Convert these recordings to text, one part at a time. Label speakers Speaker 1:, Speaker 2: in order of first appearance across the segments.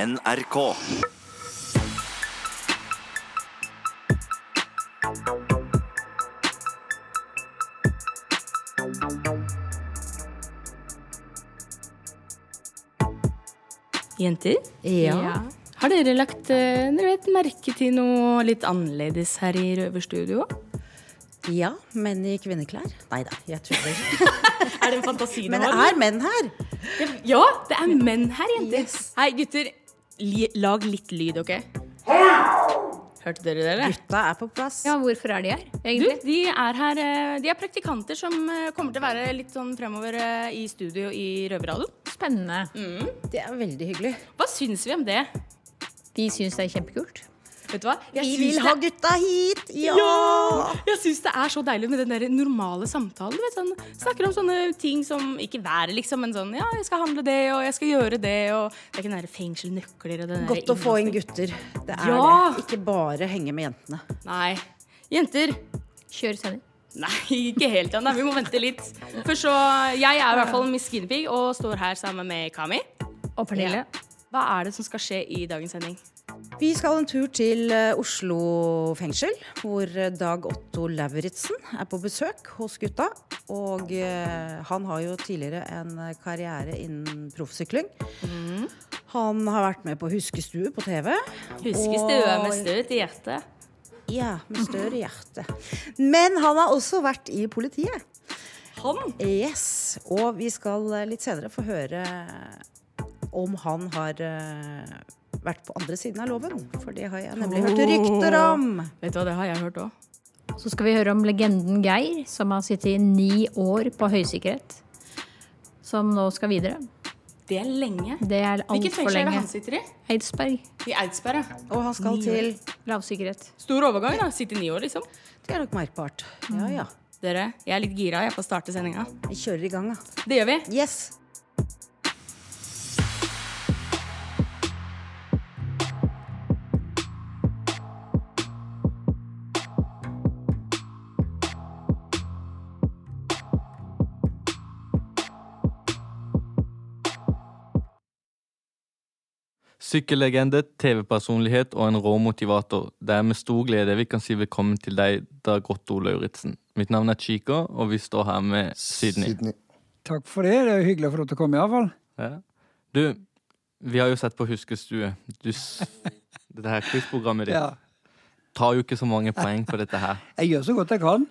Speaker 1: NRK.
Speaker 2: Jenter,
Speaker 3: Ja.
Speaker 2: har dere lagt eh, dere vet, merke til noe litt annerledes her i Røverstudio?
Speaker 3: ja, men i kvinneklær? Nei da, jeg tuller.
Speaker 2: Er det en fantasi
Speaker 3: Men det er menn her!
Speaker 2: Ja, det er menn her, jenter. Hei, gutter. Li lag litt lyd, OK? Hørte dere det? eller?
Speaker 3: Gutta er på plass.
Speaker 4: Ja, hvorfor er de her,
Speaker 2: Du,
Speaker 4: egentlig?
Speaker 2: de er her eh, De er praktikanter som eh, kommer til å være litt sånn fremover eh, i studio i Røverradioen. Mm.
Speaker 4: Spennende.
Speaker 3: Det er veldig hyggelig.
Speaker 2: Hva syns vi om det?
Speaker 4: De syns det er kjempekult.
Speaker 2: Vet du hva?
Speaker 3: Vi
Speaker 2: syns
Speaker 3: vil
Speaker 2: det-
Speaker 3: ha gutta hit! Ja!
Speaker 2: Jeg syns det er så deilig med den der normale samtalen. Du vet, sånn, snakker om sånne ting som ikke været, liksom, men sånn ja, jeg skal handle det, og jeg skal gjøre det, og det er ikke den der fengselsnøkler og den der
Speaker 3: Godt å få inn gutter. Det er
Speaker 2: Ja!
Speaker 3: det. Ikke bare henge med jentene.
Speaker 2: Nei. Jenter.
Speaker 4: Kjør sending.
Speaker 2: Nei, ikke helt ennå. Vi må vente litt. Først så Jeg er i hvert fall Miss Skinpig og står her sammen med Kami.
Speaker 4: Og Pernille.
Speaker 2: Hva er det som skal skje i dagens sending?
Speaker 3: Vi skal en tur til eh, Oslo fengsel, hvor eh, Dag Otto Lauritzen er på besøk hos gutta. Og eh, han har jo tidligere en eh, karriere innen proffsykling.
Speaker 2: Mm.
Speaker 3: Han har vært med på Huskestue på TV.
Speaker 2: Huskes
Speaker 3: og-
Speaker 2: det ø med støt i hjertet.
Speaker 3: Ja, med større hjerte. Men han har også vært i politiet.
Speaker 2: Han?
Speaker 3: Yes. Og vi skal eh, litt senere få høre eh, om han har eh, vært på andre siden av loven. For det har jeg nemlig hørt rykter om.
Speaker 2: Vet du hva, det har jeg hørt òg.
Speaker 4: Så skal vi høre om legenden Geir, som har sittet i ni år på høysikkerhet. Som nå skal videre.
Speaker 2: Det er lenge.
Speaker 4: Det er
Speaker 2: Hvilket
Speaker 4: altfor
Speaker 2: fengsel er det
Speaker 4: lenge.
Speaker 2: han sitter i?
Speaker 4: Eidsberg.
Speaker 2: I Eidsberg, ja.
Speaker 3: Og han skal til
Speaker 4: Lavsikkerhet.
Speaker 2: Stor overgang, da. Sitte ni år, liksom.
Speaker 3: Det er nok merkbart. Ja, ja.
Speaker 2: Dere, jeg er litt gira jeg på å starte sendinga.
Speaker 3: Vi kjører i gang, da.
Speaker 2: Det gjør vi.
Speaker 3: Yes.
Speaker 5: Sykkellegende, TV-personlighet og en rå motivator. Det er med stor glede vi kan si velkommen til deg, Dag Otto Lauritzen. Mitt navn er Chico, og vi står her med Sydney.
Speaker 6: Takk for det. Det er jo hyggelig å få lov til å komme, iallfall.
Speaker 5: Ja. Du, vi har jo sett på Huskestue. Du, s- dette her quizprogrammet ditt
Speaker 6: Ja.
Speaker 5: tar jo ikke så mange poeng på dette her.
Speaker 6: Jeg gjør så godt jeg kan.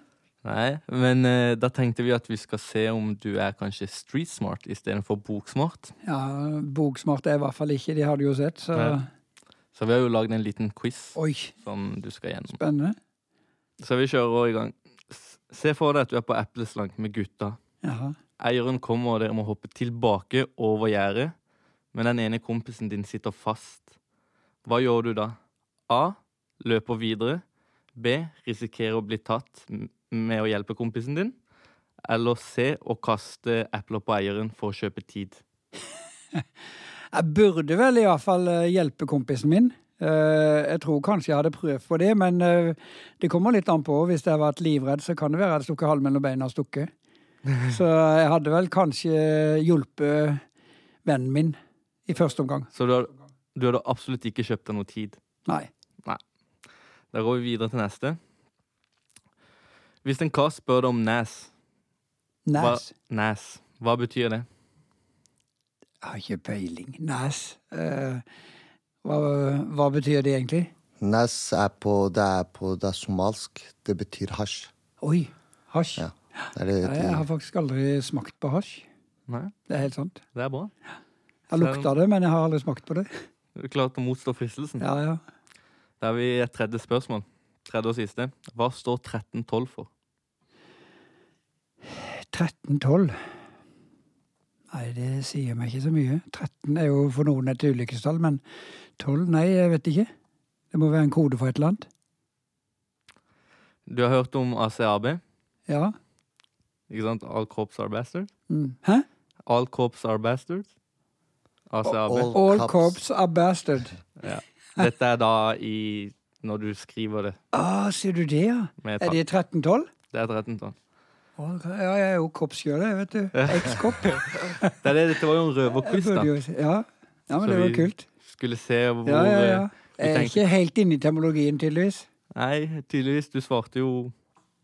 Speaker 5: Nei, men eh, da tenkte vi at vi skal se om du er kanskje street smart istedenfor boksmart.
Speaker 6: Ja, Boksmart er jeg i hvert fall ikke. De har du jo sett, så
Speaker 5: Ja. Så vi har jo lagd en liten quiz
Speaker 6: Oi,
Speaker 5: som du skal gjennom.
Speaker 6: spennende.
Speaker 5: Så vi kjører i gang. S- Se for deg at du er på epleslang med gutta.
Speaker 6: Jaha.
Speaker 5: Eieren kommer, og dere må hoppe tilbake over gjerdet. Men den ene kompisen din sitter fast. Hva gjør du da? A. Løper videre. B. Risikerer å bli tatt m- med å hjelpe kompisen din. Eller C. Å kaste epler på eieren for å kjøpe tid.
Speaker 6: Jeg burde vel iallfall eh, hjelpe kompisen min. Eh, Jeg tror kanskje jeg hadde prøvd på det, men eh, det kommer litt an på. Hvis jeg har vært livredd, så kan det være jeg hadde stukket halen mellom beina og stukket. Så jeg hadde vel kanskje hjulpet vennen min i første omgang.
Speaker 5: Så du, har- du hadde absolutt ikke kjøpt deg noe tid.
Speaker 6: Nei.
Speaker 5: Da går vi videre til neste. Hvis en kar spør deg om næs
Speaker 6: Nes.
Speaker 5: Hva, næs. Hva betyr det?
Speaker 6: Jeg har ikke peiling. Nes. Eh, Hva, hva betyr det egentlig?
Speaker 7: Nas er på Det er på Det er somalsk. Det betyr hasj.
Speaker 6: Oi, hasj.
Speaker 7: Ja. Det er det
Speaker 6: Nei, Jeg har
Speaker 7: de,
Speaker 6: faktisk aldri smakt på hasj.
Speaker 5: Nei,
Speaker 6: Det er helt sant.
Speaker 5: det er bra.
Speaker 6: Jeg lukta det, men jeg har aldri smakt på det.
Speaker 5: Du klarte å motstå fristelsen.
Speaker 6: Ja, ja.
Speaker 5: Da har vi et tredje spørsmål. Tredje og siste. Hva står 1312 for?
Speaker 6: 13-12. Nei, det sier meg ikke så mye. 13 er jo for noen et ulykkestall, men 12, nei, jeg vet ikke. Det må være en kode for et eller annet.
Speaker 5: Du har hørt om ACAB?
Speaker 6: Ja.
Speaker 5: Ikke sant? All Corps Are Bastards?
Speaker 6: Mm. Hæ?
Speaker 5: All Corps Are Bastards? ACAB.
Speaker 7: All
Speaker 6: All
Speaker 7: cops.
Speaker 6: corps are bastard.
Speaker 5: Dette er da i Når du skriver det
Speaker 6: Ah, sier du det, ja?
Speaker 5: med et
Speaker 6: Er
Speaker 5: tall.
Speaker 6: det 13-12?
Speaker 5: Det er 1312.
Speaker 6: All- Ja, jeg er jo korps sjøl, jeg, vet du. Ekskopp.
Speaker 5: Det er det, dette var jo en røverquiz, da.
Speaker 6: Ja. ja,
Speaker 5: Så
Speaker 6: men det var
Speaker 5: vi-
Speaker 6: kult.
Speaker 5: skulle se hvor
Speaker 6: Ja, ja, ja.
Speaker 5: eh,
Speaker 6: Jeg
Speaker 5: du
Speaker 6: er
Speaker 5: tenkte-
Speaker 6: ikke helt inne i termologien, tydeligvis.
Speaker 5: Nei, tydeligvis. Du svarte jo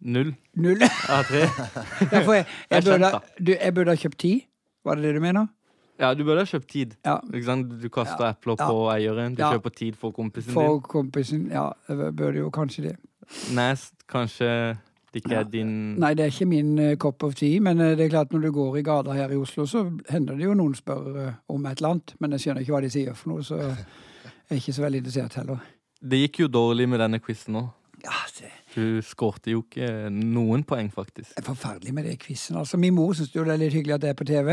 Speaker 5: null
Speaker 6: Null.
Speaker 5: av tre.
Speaker 6: Ja, for jeg, jeg,
Speaker 5: Det er
Speaker 6: burde,
Speaker 5: skjønt,
Speaker 6: du, jeg burde ha kjøpt ti. Var det det du mener?
Speaker 5: Ja, du burde ha kjøpt tid.
Speaker 6: Ja.
Speaker 5: Ikke sant? Du kaster epler
Speaker 6: Ja.
Speaker 5: på eieren. Du
Speaker 6: Ja.
Speaker 5: kjøper tid for kompisen
Speaker 6: For kompisen. Ja, jeg burde jo kanskje det.
Speaker 5: din. Nest, kanskje det ikke er din
Speaker 6: Nei, det er ikke min eh, cup of tea, men eh, det er klart når du går i gata her i Oslo, så hender det jo noen spør eh, om et eller annet, men jeg skjønner ikke hva de sier for noe, så jeg er ikke så veldig interessert heller.
Speaker 5: Det gikk jo dårlig med denne quizen nå.
Speaker 6: Ja, det
Speaker 5: Du skårte jo ikke noen poeng, faktisk.
Speaker 6: er forferdelig med det quizen. Altså, min mor syns jo det er litt hyggelig at det er på TV,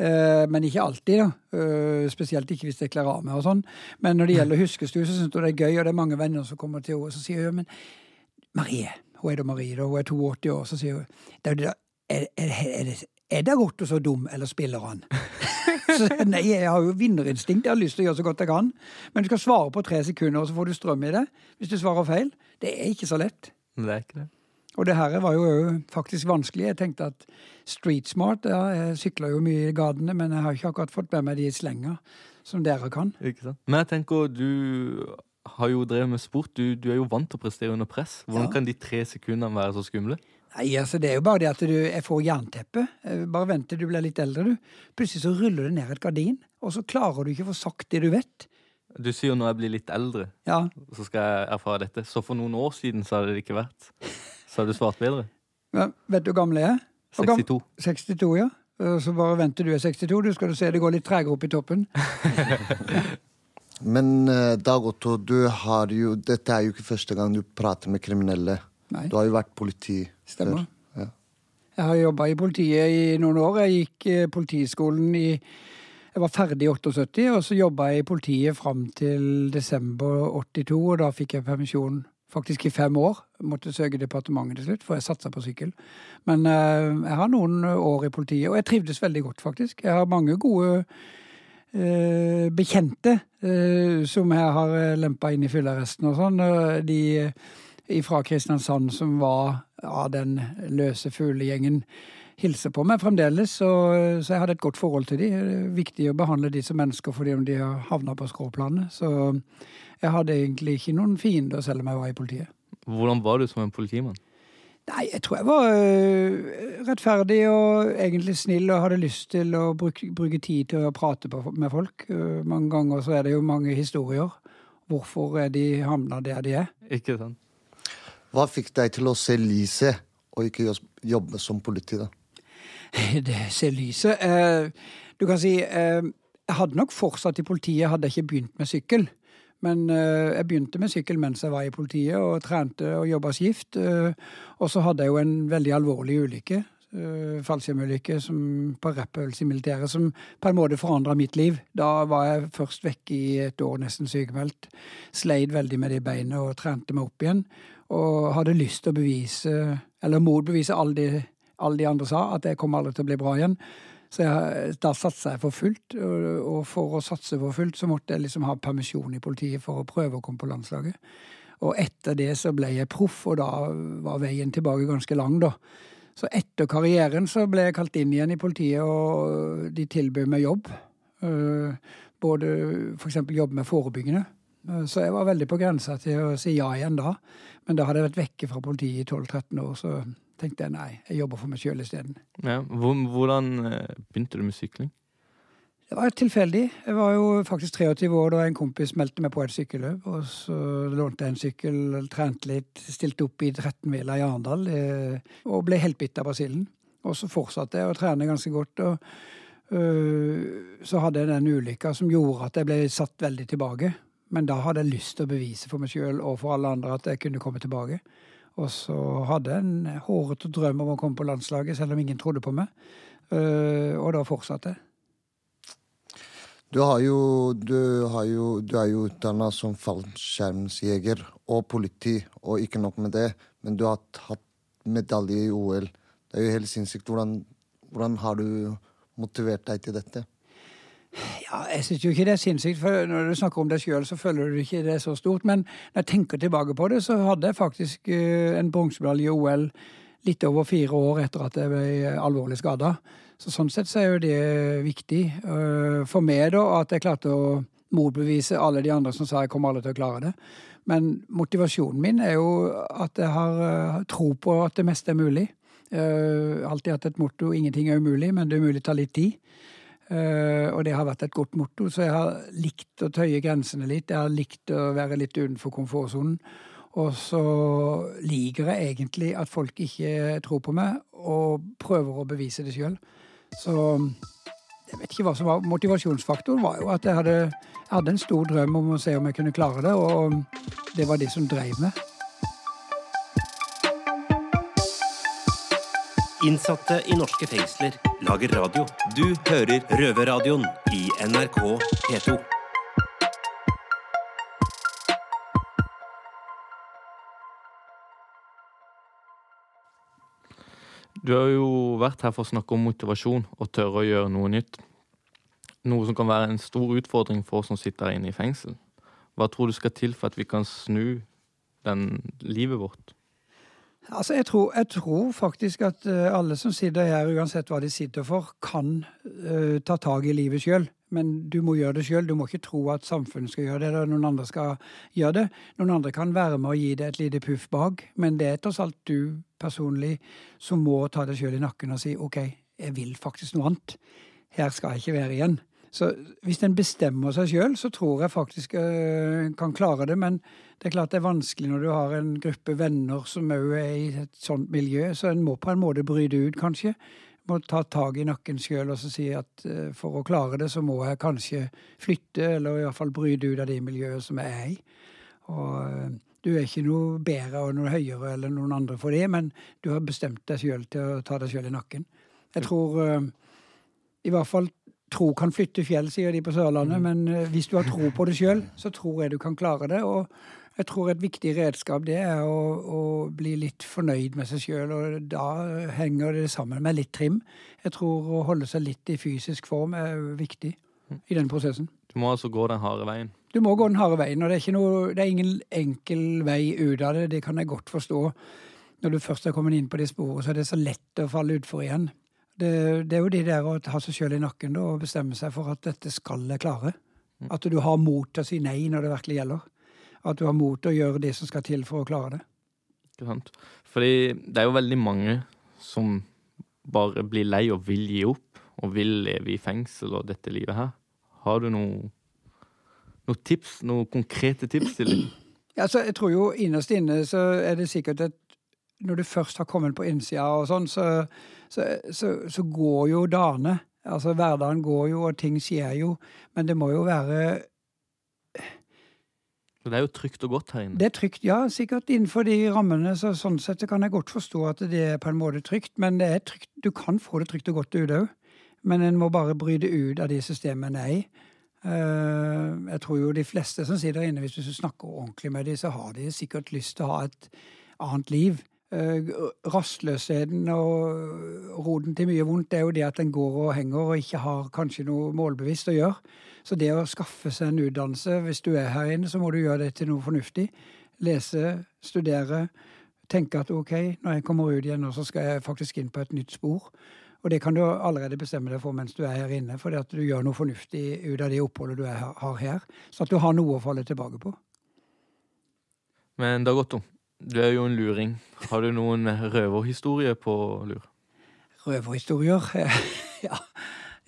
Speaker 6: eh, men ikke alltid, da. Eh, spesielt ikke hvis jeg klarer av meg og sånn. Men når det gjelder huskestue, så syns hun det er gøy, og det er mange venner som kommer til henne, og så sier hun men Marie, hun er da Marie, da, hun er 82 år, så sier hun «Det er det da, er, er, er, det- er det godt og så dum, eller spiller han? Så, nei, jeg har jo vinnerinstinkt, jeg har lyst til å gjøre så godt jeg kan. Men du skal svare på tre sekunder, og så får du strøm i det hvis du svarer feil. Det er ikke så lett.
Speaker 5: Men det er ikke det.
Speaker 6: Og det her var jo faktisk vanskelig. Jeg tenkte at street smart ja, Jeg sykler jo mye i gatene, men jeg har ikke akkurat fått med meg de slenga som dere kan.
Speaker 5: Ikke sant? Men jeg tenker, du har jo drevet med sport. Du, du er jo vant til å prestere under press. Hvordan
Speaker 6: Ja.
Speaker 5: kan de tre sekundene være så skumle?
Speaker 6: Nei, altså Det er jo bare det at du, jeg får jernteppe. Eh, Bare vent til du blir litt eldre, du. Plutselig så ruller det ned et gardin, og så klarer du ikke å få sagt det du vet.
Speaker 5: Du sier jo når jeg blir litt eldre,
Speaker 6: Ja,
Speaker 5: så skal jeg erfare dette. Så for noen år siden så hadde det ikke vært. Så hadde du svart bedre.
Speaker 6: men Vet du hvor gammel jeg er? Hvor gam-
Speaker 5: 62.
Speaker 6: 62, ja. Eh, Så bare vent til du er 62, du skal du se det går litt tregere opp i toppen.
Speaker 7: Men eh, Dag Otto, du har jo Dette er jo ikke første gang du prater med kriminelle.
Speaker 6: Nei.
Speaker 7: Du har jo vært politi
Speaker 6: Stemmer.
Speaker 7: før. Ja.
Speaker 6: Jeg har jobba i politiet i noen år. Jeg gikk eh, politiskolen i Jeg var ferdig i 78, og så jobba jeg i politiet fram til desember 82, og da fikk jeg permisjon. Faktisk i fem år. Måtte søke departementet til slutt, for jeg satsa på sykkel. Men eh, jeg har noen år i politiet, og jeg trivdes veldig godt, faktisk. Jeg har mange gode eh, bekjente eh, som jeg har eh, lempa inn i fyllearresten og sånn. eh, de fra Kristiansand som var av den løse fuglegjengen, hilser på meg fremdeles. Så, så jeg hadde et godt forhold til de. Det er viktig å behandle de som mennesker fordi om de har havna på skråplanet. Så jeg hadde egentlig ikke noen fiender selv om jeg var i politiet.
Speaker 5: Hvordan var du som en politimann?
Speaker 6: Nei, jeg tror jeg var øh, rettferdig og egentlig snill og hadde lyst til å bruke, bruke tid til å prate på, med folk. Øh, mange ganger så er det jo mange historier. Hvorfor er de havna der de er?
Speaker 5: Ikke sant?
Speaker 7: Hva fikk deg til å se lyset og ikke jos- jobbe som politi, da?
Speaker 6: Det ser lyset. Eh, du kan si eh, Jeg hadde nok fortsatt i politiet, hadde jeg ikke begynt med sykkel. Men eh, jeg begynte med sykkel mens jeg var i politiet og trente og jobba skift. Eh, og så hadde jeg jo en veldig alvorlig ulykke, eh, fallskjermulykke som- på rappøvelse i militæret, som på en måte forandra mitt liv. Da var jeg først vekke i et år, nesten sykemeldt. Sleit veldig med det beinet og trente meg opp igjen. Og hadde lyst til å bevise, eller motbevise, alle de alle de andre sa, at jeg kom aldri til å bli bra igjen. Så jeg, da satsa jeg for fullt, og, og for å satse for fullt så måtte jeg liksom ha permisjon i politiet for å prøve å komme på landslaget. Og etter det så ble jeg proff, og da var veien tilbake ganske lang, da. Så etter karrieren så ble jeg kalt inn igjen i politiet, og de tilbød meg jobb. Eh, Både f.eks. jobbe med forebyggende. Eh, Så jeg var veldig på grensa til å si ja igjen da. Men da hadde jeg vært vekke fra politiet i 12-13 år, så tenkte jeg nei, jeg jobber for meg sjøl isteden.
Speaker 5: Ja. hvor- Hvordan eh, begynte du med sykling?
Speaker 6: Det var tilfeldig. Jeg var jo faktisk 23 år da en kompis meldte meg på et sykkelløp. Og så lånte jeg en sykkel, trente litt, stilte opp i 13-mila i Arendal eh, og ble helt bitt av basillen. Og så fortsatte jeg å trene ganske godt. og øh, Så hadde jeg den ulykka som gjorde at jeg ble satt veldig tilbake. Men da hadde jeg lyst til å bevise for meg sjøl og for alle andre at jeg kunne komme tilbake. Og så hadde jeg en hårete drøm om å komme på landslaget, selv om ingen trodde på meg. Eh, og da fortsatte jeg.
Speaker 7: Du, har jo, du, har jo, du er jo utdanna som fallskjermsjeger og politi, og ikke nok med det, men du har hatt medalje i OL. Det er jo helt sinnssykt. Hvordan, hvordan har du motivert deg til dette?
Speaker 6: Ja, jeg syns jo ikke det er sinnssykt, for når du snakker om deg sjøl, så føler du ikke det er så stort. Men når jeg tenker tilbake på det, så hadde jeg faktisk eh, en bronsemedalje i OL litt over fire år etter at jeg ble eh, alvorlig skada. Så sånn sett så er jo det viktig eh, for meg, da, at jeg klarte å motbevise alle de andre som sa jeg kommer aldri til å klare det. Men motivasjonen min er jo at jeg har eh, tro på at det meste er mulig. Uh, alltid hatt et motto 'ingenting er umulig, men det umulige tar litt tid'. Eh, og det har vært et godt motto, så jeg har likt å tøye grensene litt. Jeg har likt å være litt utenfor komfortsonen. Og så liker jeg egentlig at folk ikke tror på meg, og prøver å bevise det sjøl. Så jeg vet ikke hva som var motivasjonsfaktoren, var jo at jeg hadde, jeg hadde en stor drøm om å se om jeg kunne klare det, og det var det som drev meg.
Speaker 1: Innsatte i norske fengsler lager radio. Du hører Røverradioen i NRK P2.
Speaker 5: Du har jo vært her for å snakke om motivasjon og tørre å gjøre noe nytt. Noe som kan være en stor utfordring for oss som sitter her inne i fengsel. Hva tror du skal til for at vi kan snu den livet vårt?
Speaker 6: Altså, jeg tror, jeg tror faktisk at eh, alle som sitter her, uansett hva de sitter for, kan eh, ta tak i livet sjøl. Men du må gjøre det sjøl. Du må ikke tro at samfunnet skal gjøre det, eller noen andre skal gjøre det. Noen andre kan være med og gi deg et lite puff bak, men det er tross alt du personlig som må ta deg sjøl i nakken og si OK, jeg vil faktisk noe annet. Her skal jeg ikke være igjen. Så hvis en bestemmer seg sjøl, så tror jeg faktisk øh, kan klare det. Men det er klart det er vanskelig når du har en gruppe venner som òg er i et sånt miljø, så en må på en måte bry det ut, kanskje. Må ta tak i nakken sjøl og så si at øh, for å klare det, så må jeg kanskje flytte, eller i hvert fall bry det ut av det miljøet som jeg er i. Og øh, du er ikke noe bedre og noe høyere eller noen andre for det, men du har bestemt deg sjøl til å ta deg sjøl i nakken. Jeg tror øh, i hvert fall tro kan flytte fjell, sier de på Sørlandet, men eh, hvis du har tro på det sjøl, så tror jeg du kan klare det. Og jeg tror et viktig redskap det er å, å bli litt fornøyd med seg sjøl, og da henger det sammen med litt trim. Jeg tror å holde seg litt i fysisk form er viktig i den prosessen.
Speaker 5: Du må altså gå den harde veien.
Speaker 6: Du må gå den harde veien, og det er, ikke noe, det er ingen enkel vei ut av det. Det kan jeg godt forstå. Når du først har kommet inn på det sporet, så er det så lett å falle utfor igjen. Det, det er jo det der å ha seg sjøl i nakken da, og bestemme seg for at dette skal jeg klare. At du har mot til å si nei når det virkelig gjelder. At du har mot til å gjøre det som skal til for å klare det.
Speaker 5: Ikke sant? Fordi det er jo veldig mange som bare blir lei og vil gi opp, og vil leve i fengsel og dette livet her. Har du noe, noe tips, noen konkrete tips til dem?
Speaker 6: Ja, så jeg tror jo innerst inne så er det sikkert et Når du først har kommet på innsida og sånn, så, så, så, så går jo dagene. Altså hverdagen går jo, og ting skjer jo. Men det må jo være
Speaker 5: For Det er jo trygt og godt her inne.
Speaker 6: Det er trygt, ja. Sikkert innenfor de rammene. Så sånn sett så kan jeg godt forstå at det er på en måte trygt. Men det er trygt. du kan få det trygt og godt ute òg. Men en må bare bry det ut av de systemene en er i. Eh, Jeg tror jo de fleste som sitter inne, hvis du snakker ordentlig med dem, så har de sikkert lyst til å ha et annet liv. Eh, Rastløsheten og roten til mye vondt det er jo det at en går og henger og ikke har kanskje noe målbevisst å gjøre. Så det å skaffe seg en utdannelse, hvis du er her inne, så må du gjøre det til noe fornuftig. Lese, studere, tenke at ok, når jeg kommer ut igjen nå, så skal jeg faktisk inn på et nytt spor. Og det kan du allerede bestemme deg for mens du er her inne, fordi at du gjør noe fornuftig ut av det oppholdet du er, har her, så at du har noe å falle tilbake på.
Speaker 5: Men Dag Otto, du er jo en luring. Har du noen røverhistorie på lur?
Speaker 6: Røverhistorier. ja.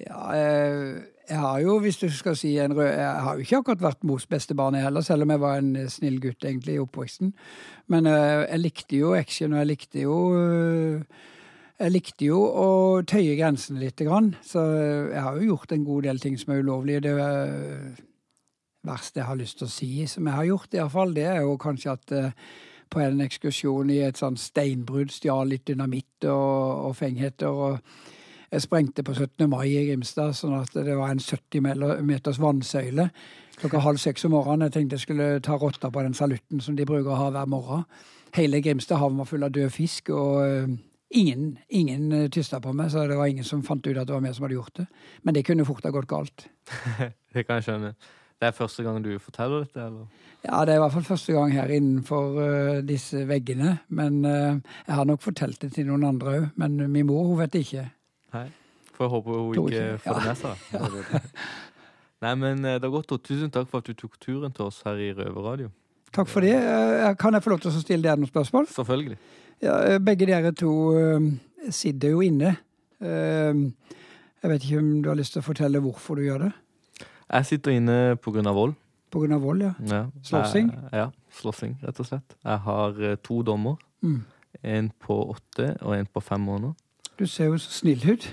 Speaker 6: ja eh, jeg har jo, hvis du skal si en rød Jeg har jo ikke akkurat vært mors beste barn, jeg heller, selv om jeg var en eh, snill gutt egentlig i oppveksten. Men eh, jeg likte jo action, og jeg likte jo eh, jeg likte jo å tøye grensene litt, grann. så eh, jeg har jo gjort en god del ting som er ulovlige. Det eh, verste jeg har lyst til å si, som jeg har gjort, i hvert fall, det er jo kanskje at eh, på en ekskursjon i et sånn steinbrudd stjal litt dynamitt og, og fengheter. og jeg sprengte på 17. mai i Grimstad, sånn at det var en 70 mel- meters vannsøyle klokka halv seks om morgenen. Jeg tenkte jeg skulle ta rotta på den salutten som de bruker å ha hver morgen. Hele Grimstad havn var full av død fisk, og eh, ingen, ingen eh, tysta på meg, så det var ingen som fant ut at det var meg som hadde gjort det. Men det kunne fort ha gått galt.
Speaker 5: Det kan jeg skjønne. Det er første gang du forteller dette, eller?
Speaker 6: Ja, det er i hvert fall første gang her innenfor eh, disse veggene. Men eh, jeg har nok fortalt det til noen andre òg. Men eh, min mor, hun vet det ikke.
Speaker 5: Nei. For jeg håper hun
Speaker 6: Tror
Speaker 5: ikke
Speaker 6: ikke.
Speaker 5: får det med seg. Nei, men eh, det er godt, og tusen takk for at du tok turen til oss her i Røverradio.
Speaker 6: Takk for det. Eh, Kan jeg få lov til å stille dere noen spørsmål?
Speaker 5: Selvfølgelig.
Speaker 6: Ja, eh, begge dere to eh, sitter jo inne. Eh, Jeg vet ikke om du har lyst til å fortelle hvorfor du gjør det?
Speaker 5: Jeg sitter inne på grunn av vold.
Speaker 6: På grunn av vold, ja.
Speaker 5: Ja.
Speaker 6: Slåssing?
Speaker 5: Jeg- Ja, slåssing, rett og slett. Jeg har eh, to dommer.
Speaker 6: Mm.
Speaker 5: En på åtte og en på fem måneder.
Speaker 6: Du ser jo så snill ut.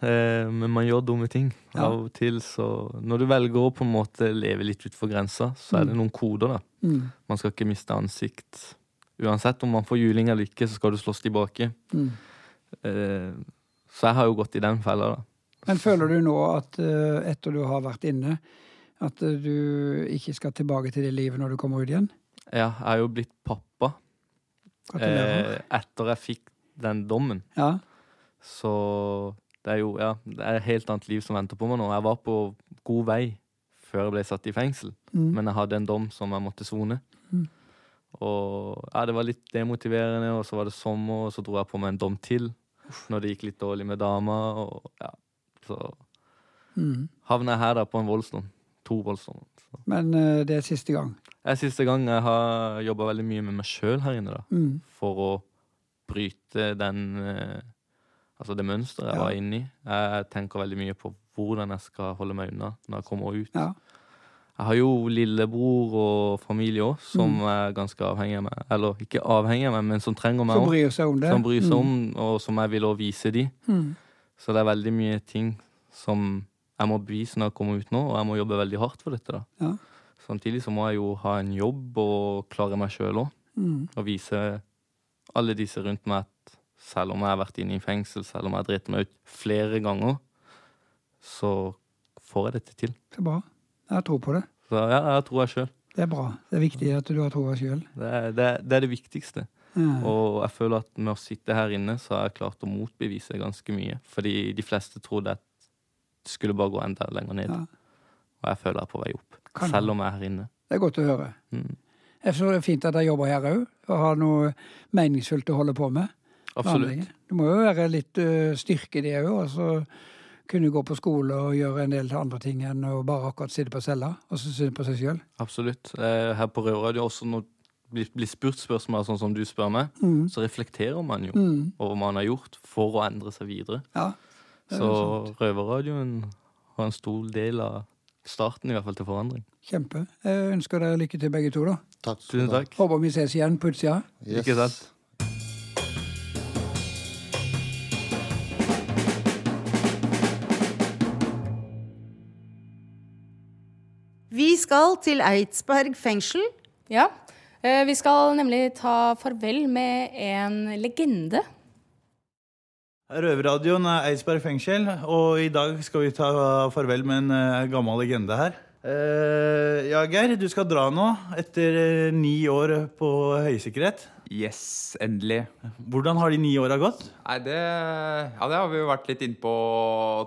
Speaker 5: Eh, Men man gjør dumme ting
Speaker 6: Ja.
Speaker 5: av og til, så når du velger å på en måte leve litt utenfor grensa, så er det noen koder, da.
Speaker 6: Mm.
Speaker 5: Man skal ikke miste ansikt. Uansett om man får juling eller ikke, så skal du slåss tilbake.
Speaker 6: Mm.
Speaker 5: Eh, Så jeg har jo gått i den fella, da.
Speaker 6: Men føler du nå at eh, etter du har vært inne, at eh, du ikke skal tilbake til det livet når du kommer ut igjen?
Speaker 5: Ja, jeg er jo blitt pappa
Speaker 6: Gratulerer.
Speaker 5: eh, etter jeg fikk den dommen.
Speaker 6: Ja.
Speaker 5: Så det er jo ja, det er et helt annet liv som venter på meg nå. Jeg var på god vei før jeg ble satt i fengsel,
Speaker 6: Mm.
Speaker 5: men jeg hadde en dom som jeg måtte sone.
Speaker 6: Mm.
Speaker 5: Og ja, det var litt demotiverende, og så var det sommer, og så dro jeg på meg en dom til når det gikk litt dårlig med dama, og ja, så
Speaker 6: Mm.
Speaker 5: havna jeg her da på en voldsdom. To voldsdommer. Så
Speaker 6: Men eh, det er siste gang.
Speaker 5: Det er siste gang jeg har jobba veldig mye med meg sjøl her inne, da
Speaker 6: Mm.
Speaker 5: for å bryte den eh, Altså det mønsteret jeg
Speaker 6: Ja.
Speaker 5: var inne i. Jeg tenker veldig mye på hvordan jeg skal holde meg unna når jeg kommer ut.
Speaker 6: Ja.
Speaker 5: Jeg har jo lillebror og familie òg, som
Speaker 6: Mm.
Speaker 5: er ganske avhengig av meg. Eller ikke avhengig av meg, men som trenger meg
Speaker 6: Som
Speaker 5: òg.
Speaker 6: bryr seg om det.
Speaker 5: Som bryr seg om, og som jeg vil også vise de.
Speaker 6: Mm.
Speaker 5: Så det er veldig mye ting som jeg må bevise når jeg kommer ut nå, og jeg må jobbe veldig hardt for dette. da.
Speaker 6: Ja.
Speaker 5: Samtidig så må jeg jo ha en jobb og klare meg sjøl òg
Speaker 6: Mm.
Speaker 5: og vise alle disse rundt meg at selv om jeg har vært inne i fengsel, selv om jeg har dritt meg ut flere ganger, så får jeg dette til.
Speaker 6: Så bra. Jeg har tro på det.
Speaker 5: Så ja, jeg tror jeg sjøl.
Speaker 6: Det er bra. Det er viktig at du har troa sjøl.
Speaker 5: Det, er- det, er- det er det viktigste.
Speaker 6: Mm.
Speaker 5: Og jeg føler at med å sitte her inne, så har jeg klart å motbevise ganske mye. Fordi de fleste trodde at det skulle bare gå enda lenger ned.
Speaker 6: Ja.
Speaker 5: Og jeg føler jeg er på vei opp.
Speaker 6: Kan-
Speaker 5: Selv om jeg er her inne.
Speaker 6: Det er godt å høre.
Speaker 5: Mm.
Speaker 6: Jeg synes det er fint at jeg jobber her òg, og har noe meningsfullt å holde på med.
Speaker 5: Absolutt.
Speaker 6: Vanlige. Det må jo være litt ø, styrke i det òg, og så kunne gå på skole og gjøre en del andre ting enn å bare akkurat sitte på cella og så synes på seg sjøl.
Speaker 5: Absolutt. Eh, Her på Røverradio også når det blir- blir spurt spørsmål sånn som du spør meg,
Speaker 6: Mm.
Speaker 5: så reflekterer man jo over hva man har gjort for å endre seg videre.
Speaker 6: Ja. det er jo
Speaker 5: Så Røverradioen har en stor del av starten i hvert fall til forandring.
Speaker 6: Kjempe. Jeg ønsker dere lykke til, begge to. da.
Speaker 7: Takk skal
Speaker 5: Tusen
Speaker 7: du ha.
Speaker 5: takk.
Speaker 6: Håper vi ses igjen på utsida.
Speaker 7: Yes.
Speaker 5: Ikke sant?
Speaker 3: Vi skal til Eidsberg fengsel.
Speaker 2: Ja. Eh, Vi skal nemlig ta farvel med en legende.
Speaker 8: Røverradioen er Eidsberg fengsel, og i dag skal vi ta farvel med en eh, gammel legende her. Eh, ja, Geir, du skal dra nå, etter eh, ni år på høysikkerhet.
Speaker 9: Yes, endelig.
Speaker 8: Hvordan har de ni åra gått?
Speaker 9: Nei, det, ja, det har vi jo vært litt innpå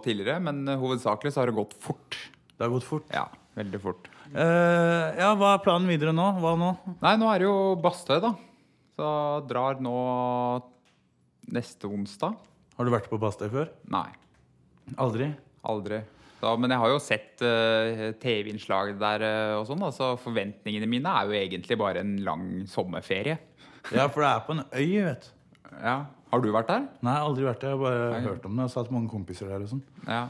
Speaker 9: tidligere, men eh, hovedsakelig så har det gått fort.
Speaker 8: Det har gått fort.
Speaker 9: Ja, veldig fort.
Speaker 8: Eh, ja, Hva er planen videre nå? Hva nå?
Speaker 9: Nei, nå er det jo Bastøy, da. Så drar nå neste onsdag.
Speaker 8: Har du vært på Bastøy før?
Speaker 9: Nei,
Speaker 8: Aldri?
Speaker 9: aldri. Så, men jeg har jo sett eh, TV-innslag der eh, og sånn, da, så forventningene mine er jo egentlig bare en lang sommerferie.
Speaker 8: Ja, for det er på en øy, vet du.
Speaker 9: Ja. Har du vært der?
Speaker 8: Nei, aldri vært der. Jeg har bare hørt om det. Jeg har hatt mange kompiser der og sånn.
Speaker 9: Ja.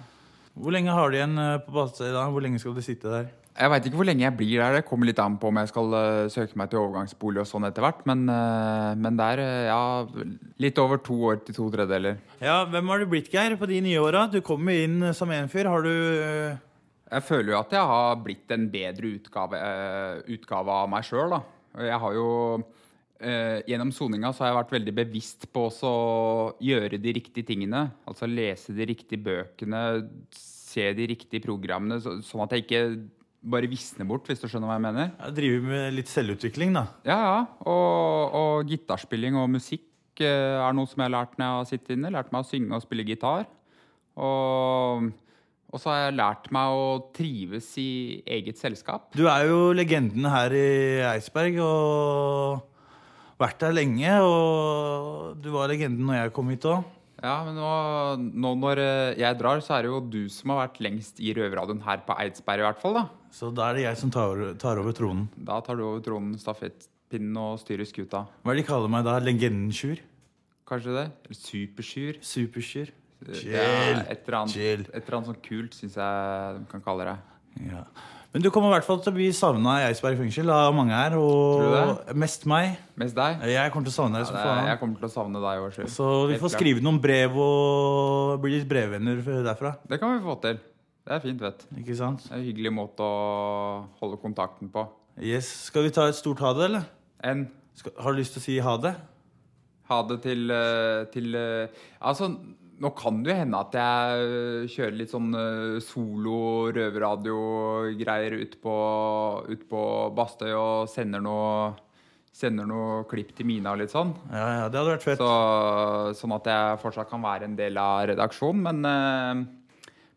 Speaker 8: Hvor lenge har de igjen eh, på Bastøy da? Hvor lenge skal de sitte der?
Speaker 9: Jeg veit ikke hvor lenge jeg blir der. Det kommer litt an på om jeg skal eh, søke meg til overgangsbolig og sånn etter hvert. Men, eh, men det er eh, ja, litt over to år til to tredjedeler.
Speaker 8: Ja, Hvem har du blitt, Geir, på de nye åra? Du kommer inn eh, som en fyr. Har du eh,
Speaker 9: Jeg føler jo at jeg har blitt en bedre utgave, eh, utgave av meg sjøl, da. Og Jeg har jo eh, Gjennom soninga så har jeg vært veldig bevisst på også å gjøre de riktige tingene. Altså lese de riktige bøkene, se de riktige programmene, så, sånn at jeg ikke bare visner bort, hvis du skjønner hva jeg mener.
Speaker 8: Ja, driver med litt selvutvikling, da.
Speaker 9: Ja, ja. Og, og gitarspilling og musikk eh, er noe som jeg har lært når jeg har sittet inne. Lært meg å synge og spille gitar. Og, og så har jeg lært meg å trives i eget selskap.
Speaker 8: Du er jo legenden her i Eidsberg og vært der lenge. Og du var legenden når jeg kom hit òg.
Speaker 9: Ja, men nå, nå når eh, jeg drar, så er det jo du som har vært lengst i røverradioen her på Eidsberg i hvert fall, da.
Speaker 8: Så da er det jeg som tar, tar over tronen.
Speaker 9: Da tar du over tronen, stafettpinnen og styrer skuta.
Speaker 8: Hva er det de kaller meg da? Legendensjur?
Speaker 9: Kanskje det? Eller supersjur?
Speaker 8: Supersjur?
Speaker 9: Det er et eller annet,
Speaker 8: Chill.
Speaker 9: et eller annet sånn kult syns jeg de kan kalle det.
Speaker 8: Ja. Men du kommer i hvert fall til å bli savna i Eidsberg fengsel av mange her.
Speaker 9: Tror
Speaker 8: Og mest meg.
Speaker 9: Mest deg?
Speaker 8: Jeg kommer til å savne deg
Speaker 9: Ja,
Speaker 8: som
Speaker 9: det, jeg
Speaker 8: faen.
Speaker 9: kommer til å savne deg òg,
Speaker 8: Så vi får skrive noen brev og bli litt brevvenner derfra.
Speaker 9: Det kan vi få til. Det er fint, vet du.
Speaker 8: Ikke sant?
Speaker 9: Det er en hyggelig måte å holde kontakten på.
Speaker 8: Yes. Skal vi ta et stort ha det, eller?
Speaker 9: En
Speaker 8: Skal, har du lyst til å si ha det?
Speaker 9: ha det til, eh, til eh, Altså, nå kan det jo hende at jeg eh, kjører litt sånn eh, solo røverradio-greier ut på, ut på Bastøy og sender noe, sender noe klipp til Mina og litt sånn.
Speaker 8: Ja, ja, det hadde vært fett.
Speaker 9: Så, sånn at jeg fortsatt kan være en del av redaksjonen. Men, eh,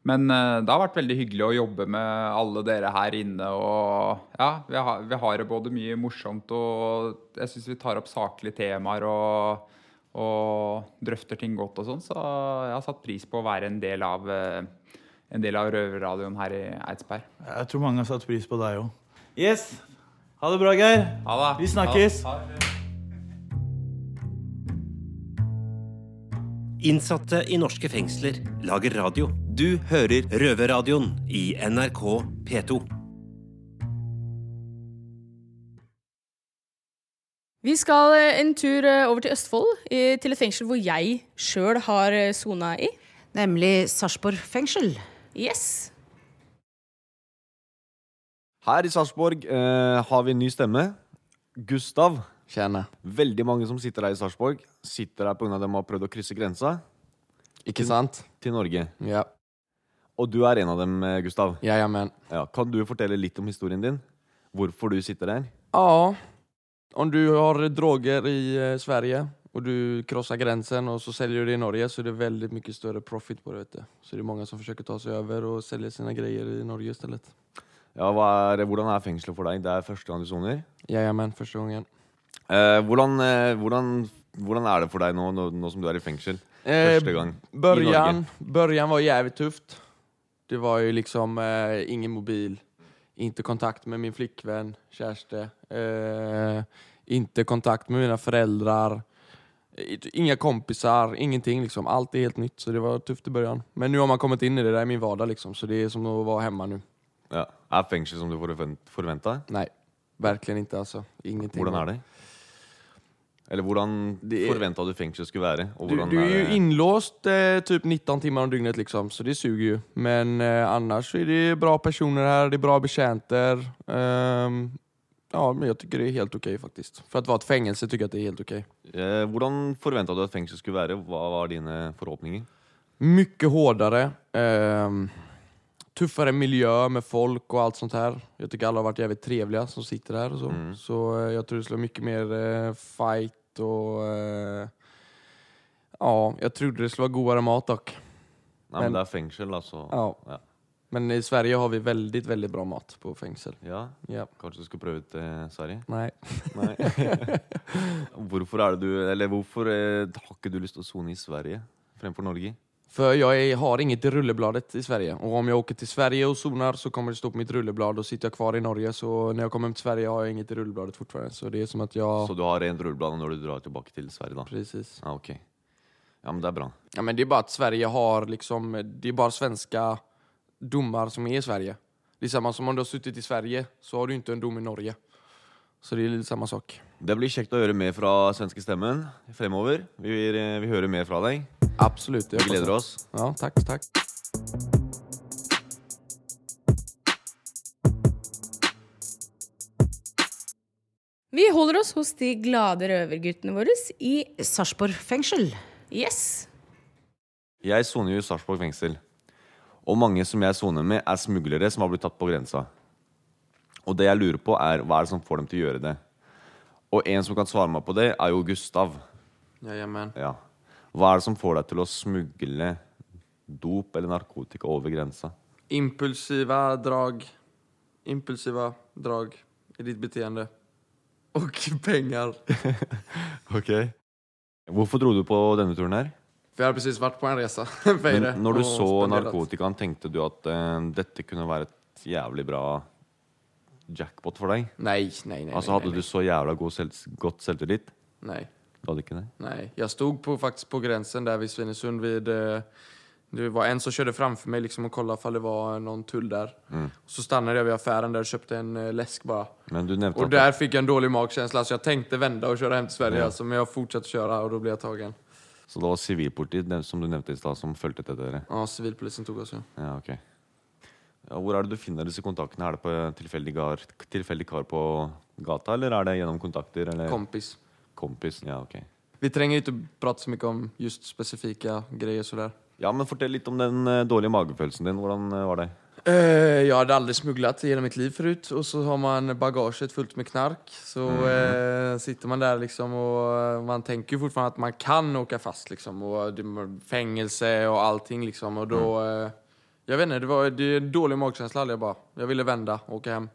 Speaker 9: men eh, det har vært veldig hyggelig å jobbe med alle dere her inne. Og ja, vi har, vi har det både mye morsomt og jeg syns vi tar opp saklige temaer og, og drøfter ting godt og sånn. Så jeg har satt pris på å være en del av, eh, en del av røverradioen her i Eidsberg.
Speaker 8: Jeg tror mange har satt pris på deg òg. Yes. Ha det bra, Geir.
Speaker 9: Ha det.
Speaker 8: Vi snakkes.
Speaker 9: Ha det.
Speaker 1: Innsatte i norske fengsler lager radio. Du hører Røverradioen i NRK P2.
Speaker 2: Vi skal eh, en tur eh, over til Østfold, eh, til et fengsel hvor jeg sjøl har eh, sona i.
Speaker 3: Nemlig Sarpsborg fengsel.
Speaker 2: Yes.
Speaker 10: Her i Sarpsborg eh, har vi en ny stemme. Gustav. Kjenne. Veldig mange som sitter her i Sarpsborg, sitter her pga. at de har prøvd å krysse grensa
Speaker 11: Ikke sant?
Speaker 10: til Norge.
Speaker 11: Ja.
Speaker 10: Og du er en av dem, eh, Gustav.
Speaker 11: Ja, ja, men.
Speaker 10: Ja, kan du fortelle litt om historien din? Hvorfor du sitter her?
Speaker 11: Ja. Om du har droger i eh, Sverige och du krossar gränsen och så säljer du det i Norge så är det väldigt mycket större profit på det. Vet du. Så det är många som försöker ta sig över och sälja sina grejer i Norge istället.
Speaker 10: Ja, hva er, hvordan er fengselet for deg? Det er første gang du soner.
Speaker 11: Jajamän, första gången.
Speaker 10: Eh, hvordan, eh, hvordan, hvordan er det for deg nå, nå, nå som du er i fengsel?
Speaker 11: Eh,
Speaker 10: Første gang. i Norge.
Speaker 11: Början, början var jävligt tufft. Det var ju liksom eh, ingen mobil, inte kontakt med min flickvän, kärste. Eh, inte kontakt med mina föräldrar. Eh, Inga kompisar, ingenting liksom. Allt är helt nytt, så det var tufft i början. Men nu har man kommit in i det, det är min vardag liksom. Så det är som att vara hemma nu.
Speaker 10: Ja. Er fengsel som du forventa?
Speaker 11: Nej, verkligen inte alltså. Ingenting.
Speaker 10: Hvordan er det? Eller hvordan
Speaker 11: Det-
Speaker 10: forventa du fengsel skulle være? Og
Speaker 11: Du,
Speaker 10: hvordan
Speaker 11: du är
Speaker 10: er
Speaker 11: ju
Speaker 10: det?
Speaker 11: inlåst eh, typ 19 timmar om dygnet liksom, så det suger ju. Men eh, annars så är det bra personer här, det är bra betjänter. Ehm, ja, men jag tycker det är helt okej faktiskt. För att vara ett fängelse tycker jag att det är helt okej.
Speaker 10: Eh, hvordan forventa du at fengsel skulle være? Hva var dine forhåpninger?
Speaker 11: Mycket hårdare, ehm, tuffare miljö med folk och allt sånt här. Jag tycker alla har varit jävligt trevliga som sitter här och så.
Speaker 10: Mm.
Speaker 11: Så eh, jag tror det skulle vara mycket mer eh, fight och... Eh, ja, jag trodde det skulle vara godare mat dock.
Speaker 10: Nei, men,
Speaker 11: Men-
Speaker 10: det er fengsel, altså.
Speaker 11: Ja.
Speaker 10: Ja.
Speaker 11: Men i Sverige har vi väldigt, väldigt bra mat på fängelsel.
Speaker 10: Ja,
Speaker 11: Ja.
Speaker 10: Kanskje du skulle prøve ut eh, Sverige?
Speaker 11: Nej.
Speaker 10: Nei. hvorfor er det du Eller hvorfor eh, har ikke du lyst til å sone i Sverige fremfor Norge?
Speaker 11: För jag är, har inget i rullebladet i Sverige. Och om jag åker till Sverige och zonar så kommer det stå på mitt rulleblad och sitter jag kvar i Norge så när jag kommer hem till Sverige har jag inget i rullebladet fortfarande. Så det är som att jag...
Speaker 10: Så du har rent rulleblad når du drar tilbake til Sverige, da?
Speaker 11: Precis.
Speaker 10: Ja, ok. Ja, men det er bra.
Speaker 11: Ja men det är bara att Sverige har liksom... Det är bara svenska domar som är i Sverige. Det är samma som om du har suttit i Sverige så har du inte en dom i Norge. Så det är lite samma sak.
Speaker 10: Det blir kjekt å høre mer fra svenske stemmen fremover. Vi, vil, eh, vi hører mer fra deg.
Speaker 11: Absolut.
Speaker 10: Vi gleder oss.
Speaker 11: Ja, tack, tack.
Speaker 2: Vi holder oss hos de glade røverguttene våre i
Speaker 3: Sarpsborg fengsel.
Speaker 2: Yes.
Speaker 10: Jeg soner jo i Sarpsborg fengsel. Og mange som jeg soner med, er smuglere som har blitt tatt på grensa. Og det jeg lurer på, er hva er det som får dem til å gjøre det? Og en som kan svare meg på det, er jo Gustav.
Speaker 11: Jajamän.
Speaker 10: Ja. Hva er det som får deg til å smugle dop eller narkotika over grensa?
Speaker 11: impulsiva drag. Impulsiva drag i ditt beteende. Och pengar.
Speaker 10: Ok. Hvorfor dro du på denne turen her?
Speaker 11: För jag har precis varit på en resa. Vad är det?
Speaker 10: Men når du
Speaker 11: Och
Speaker 10: så
Speaker 11: spenderat.
Speaker 10: narkotikaen, tenkte du at eh, dette kunne være et jævlig bra jackpot for deg?
Speaker 11: Nei, nei, nei,
Speaker 10: Altså
Speaker 11: nei,
Speaker 10: Hadde
Speaker 11: nei, nei.
Speaker 10: du så jævla god selv, godt selvtillit?
Speaker 11: Nej.
Speaker 10: Du hadde ikke det?
Speaker 11: Nej, jag stod på, faktiskt på gränsen där vid Svinesund vid... eh, Det var en som körde framför mig liksom och kollade ifall det var någon tull där.
Speaker 10: Mm.
Speaker 11: Så stannade jag vid affären där och köpte en eh, läsk bara.
Speaker 10: Men du nevnte
Speaker 11: Och
Speaker 10: at
Speaker 11: där fick jag en dålig magkänsla så jag tänkte vända och köra hem till Sverige
Speaker 10: Ja.
Speaker 11: alltså, men jag fortsatte köra och då blev jag tagen.
Speaker 10: Så det var sivilpolitiet den- som du nevnte i stad, som fulgte etter dere?
Speaker 11: Ja, civilpolisen tog oss. Ja.
Speaker 10: Ja, ok. Ja, hvor er det du finner disse kontaktene? Er det på en tilfeldig, gar, tilfeldig kar på gata, eller er det gjennom kontakter? Eller?
Speaker 11: Kompis.
Speaker 10: Kompis, ja, ok.
Speaker 11: Vi tränger ju inte prata så mycket om just specifika grejer sådär.
Speaker 10: Ja, men fortell litt om den eh, dårlige magefølelsen din. Hvordan eh, var det?
Speaker 11: Eh, Jag hade aldrig smugglat i hela mitt liv förut och så har man bagaget fullt med knark. Så eh, sitter man där liksom och eh, man tänker ju fortfarande att man kan åka fast liksom och det, fängelse och allting liksom och då... Eh, jag vet inte, det var det är en dålig magkänsla hade jag bara. Jag ville vända och åka hem.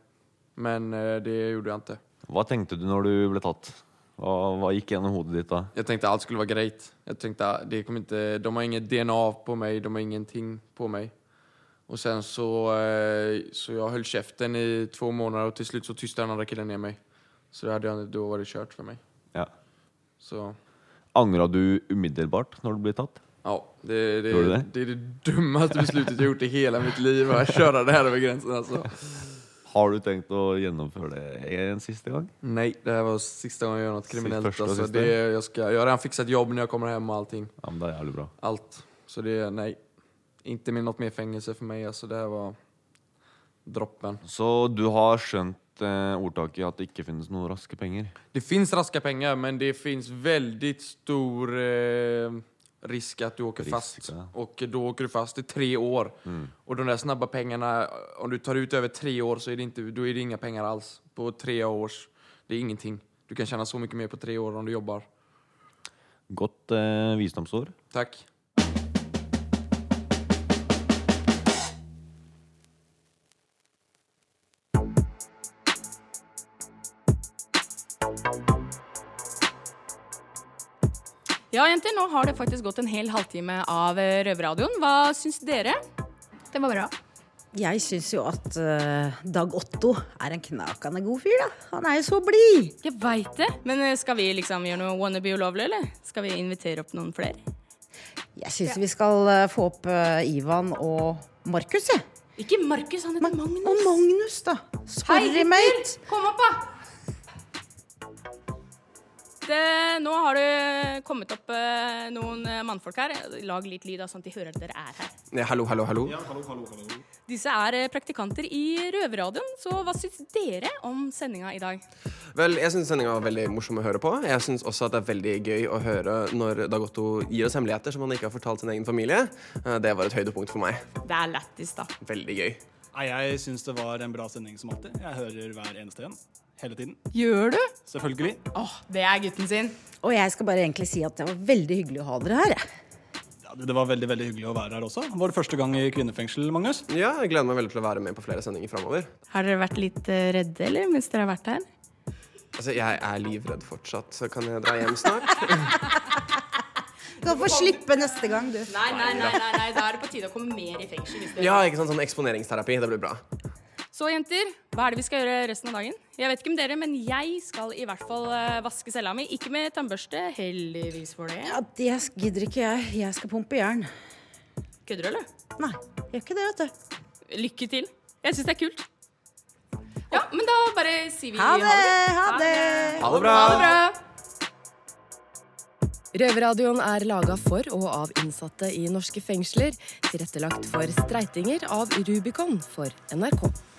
Speaker 11: Men eh, det gjorde jag inte.
Speaker 10: Hva tenkte du når du ble tatt? Hva, hva gikk gjennom hodet ditt da?
Speaker 11: Jag tänkte allt skulle vara grejt. Jag tänkte ah, det kommer inte, de har inget DNA på mig, de har ingenting på mig. Och sen så, eh, så jag höll käften i två månader och till slut så tystade den andra killen ner mig. Så då, hade jag, då var det kört för mig.
Speaker 10: Ja.
Speaker 11: Så
Speaker 10: Angra du umiddelbart når du ble tatt?
Speaker 11: ja, det, det,
Speaker 10: Gjorde du
Speaker 11: det?
Speaker 10: det?
Speaker 11: är det dummaste beslutet jag gjort i hela mitt liv. Att köra det här över gränsen alltså.
Speaker 10: Har du tenkt å gjennomføre det en siste gang?
Speaker 11: Nej, det här var sista gången jag gör något kriminellt.
Speaker 10: Första och
Speaker 11: Alltså,
Speaker 10: sista.
Speaker 11: det, jag, ska, jag har redan fixat jobb när jag kommer hem och allting.
Speaker 10: Ja, men det er jævlig bra.
Speaker 11: Allt. Så det, nej. Inte med något mer fängelse för mig. Alltså det här var droppen.
Speaker 10: Så du har skjønt eh, ordtaket at det ikke finnes noen raske penger?
Speaker 11: Det finns raska pengar, men det finns väldigt stor eh, risk att du åker
Speaker 10: Risk,
Speaker 11: fast.
Speaker 10: ja.
Speaker 11: Och då åker du fast i tre år.
Speaker 10: Mm.
Speaker 11: Och de där snabba pengarna, eh, om du tar ut över tre år så är det, inte, då är det inga pengar alls. På tre års, det är ingenting. Du kan tjäna så mycket mer på tre år om du jobbar.
Speaker 10: Godt eh, visdomsord.
Speaker 11: Tack.
Speaker 2: Ja, jenter, nå har det faktisk gått en hel halvtime av eh, Røverradioen. Hva syns dere?
Speaker 4: Det var bra.
Speaker 3: Jeg syns jo at eh, Dag Otto er en knakende god fyr, da. Han er jo så blid!
Speaker 2: Jeg veit det. Men eh, skal vi liksom gjøre noe wannabe ulovlig, eller? Skal vi invitere opp noen flere?
Speaker 3: Jeg syns vi skal eh, få opp eh, Ivan og Markus, jeg.
Speaker 2: Ikke Markus, han heter Magnus.
Speaker 3: Og Magnus, da. Sorry,
Speaker 2: gutter!
Speaker 3: mate.
Speaker 2: Kom opp, da! Det, nå har det kommet opp eh, noen eh, mannfolk her. Lag litt lyd, da, sånn at de hører at dere er her.
Speaker 11: Nej, hallå, hallå, hallå.
Speaker 2: Disse er eh, praktikanter i Røverradioen, så hva syns dere om sendinga i dag?
Speaker 12: Vel, jeg syns sendinga var veldig morsom å høre på. Jeg syns også at det er veldig gøy å høre når Dag Otto gir oss hemmeligheter som han ikke har fortalt sin egen familie. Eh, Det var et høydepunkt for meg.
Speaker 2: Det er lættis, da.
Speaker 12: Veldig gøy.
Speaker 13: Nei, Jeg syns det var en bra sending som alltid. Jeg hører hver eneste en. Hele tiden.
Speaker 2: Gjør du?
Speaker 13: Selvfølgelig.
Speaker 2: Åh, det er gutten sin.
Speaker 3: Og jeg skal bare egentlig si at det var veldig hyggelig å ha dere her. jeg.
Speaker 13: Ja, det det var veldig veldig hyggelig å være her også. Var det første gang i kvinnefengsel, Magnus?
Speaker 12: Ja, jeg gleder meg veldig til å være med på flere sendinger framover.
Speaker 2: Har dere vært litt eh, redde, eller, mens dere har vært her?
Speaker 12: Altså, jeg er livredd fortsatt, så kan jeg dra hjem snart?
Speaker 3: Du kan få slippe neste gang, du.
Speaker 2: Nei, nei, nei, nei, nei. da er det på tide å komme mer i fengsel. Hvis dere
Speaker 12: Ja, ikke sant? Sånn eksponeringsterapi. Det blir bra.
Speaker 2: Så jenter, hva er det vi skal gjøre resten av dagen? Jeg vet ikke om dere, men jeg skal i hvert fall eh, vaske cella mi. Ikke med tannbørste, heldigvis for det.
Speaker 3: Ja, Det gidder ikke jeg. Jeg skal pumpe jern.
Speaker 2: Kødder du, eller?
Speaker 3: Nei, gjør ikke det, vet du.
Speaker 2: Lykke til. Jeg syns det er kult. Ja, men da bare sier vi
Speaker 3: Ha det! Ha det!
Speaker 12: Ha det bra!
Speaker 2: Ha det bra.
Speaker 14: Røverradioen er laga for og av innsatte i norske fengsler. Tilrettelagt for streitinger av Rubicon for NRK.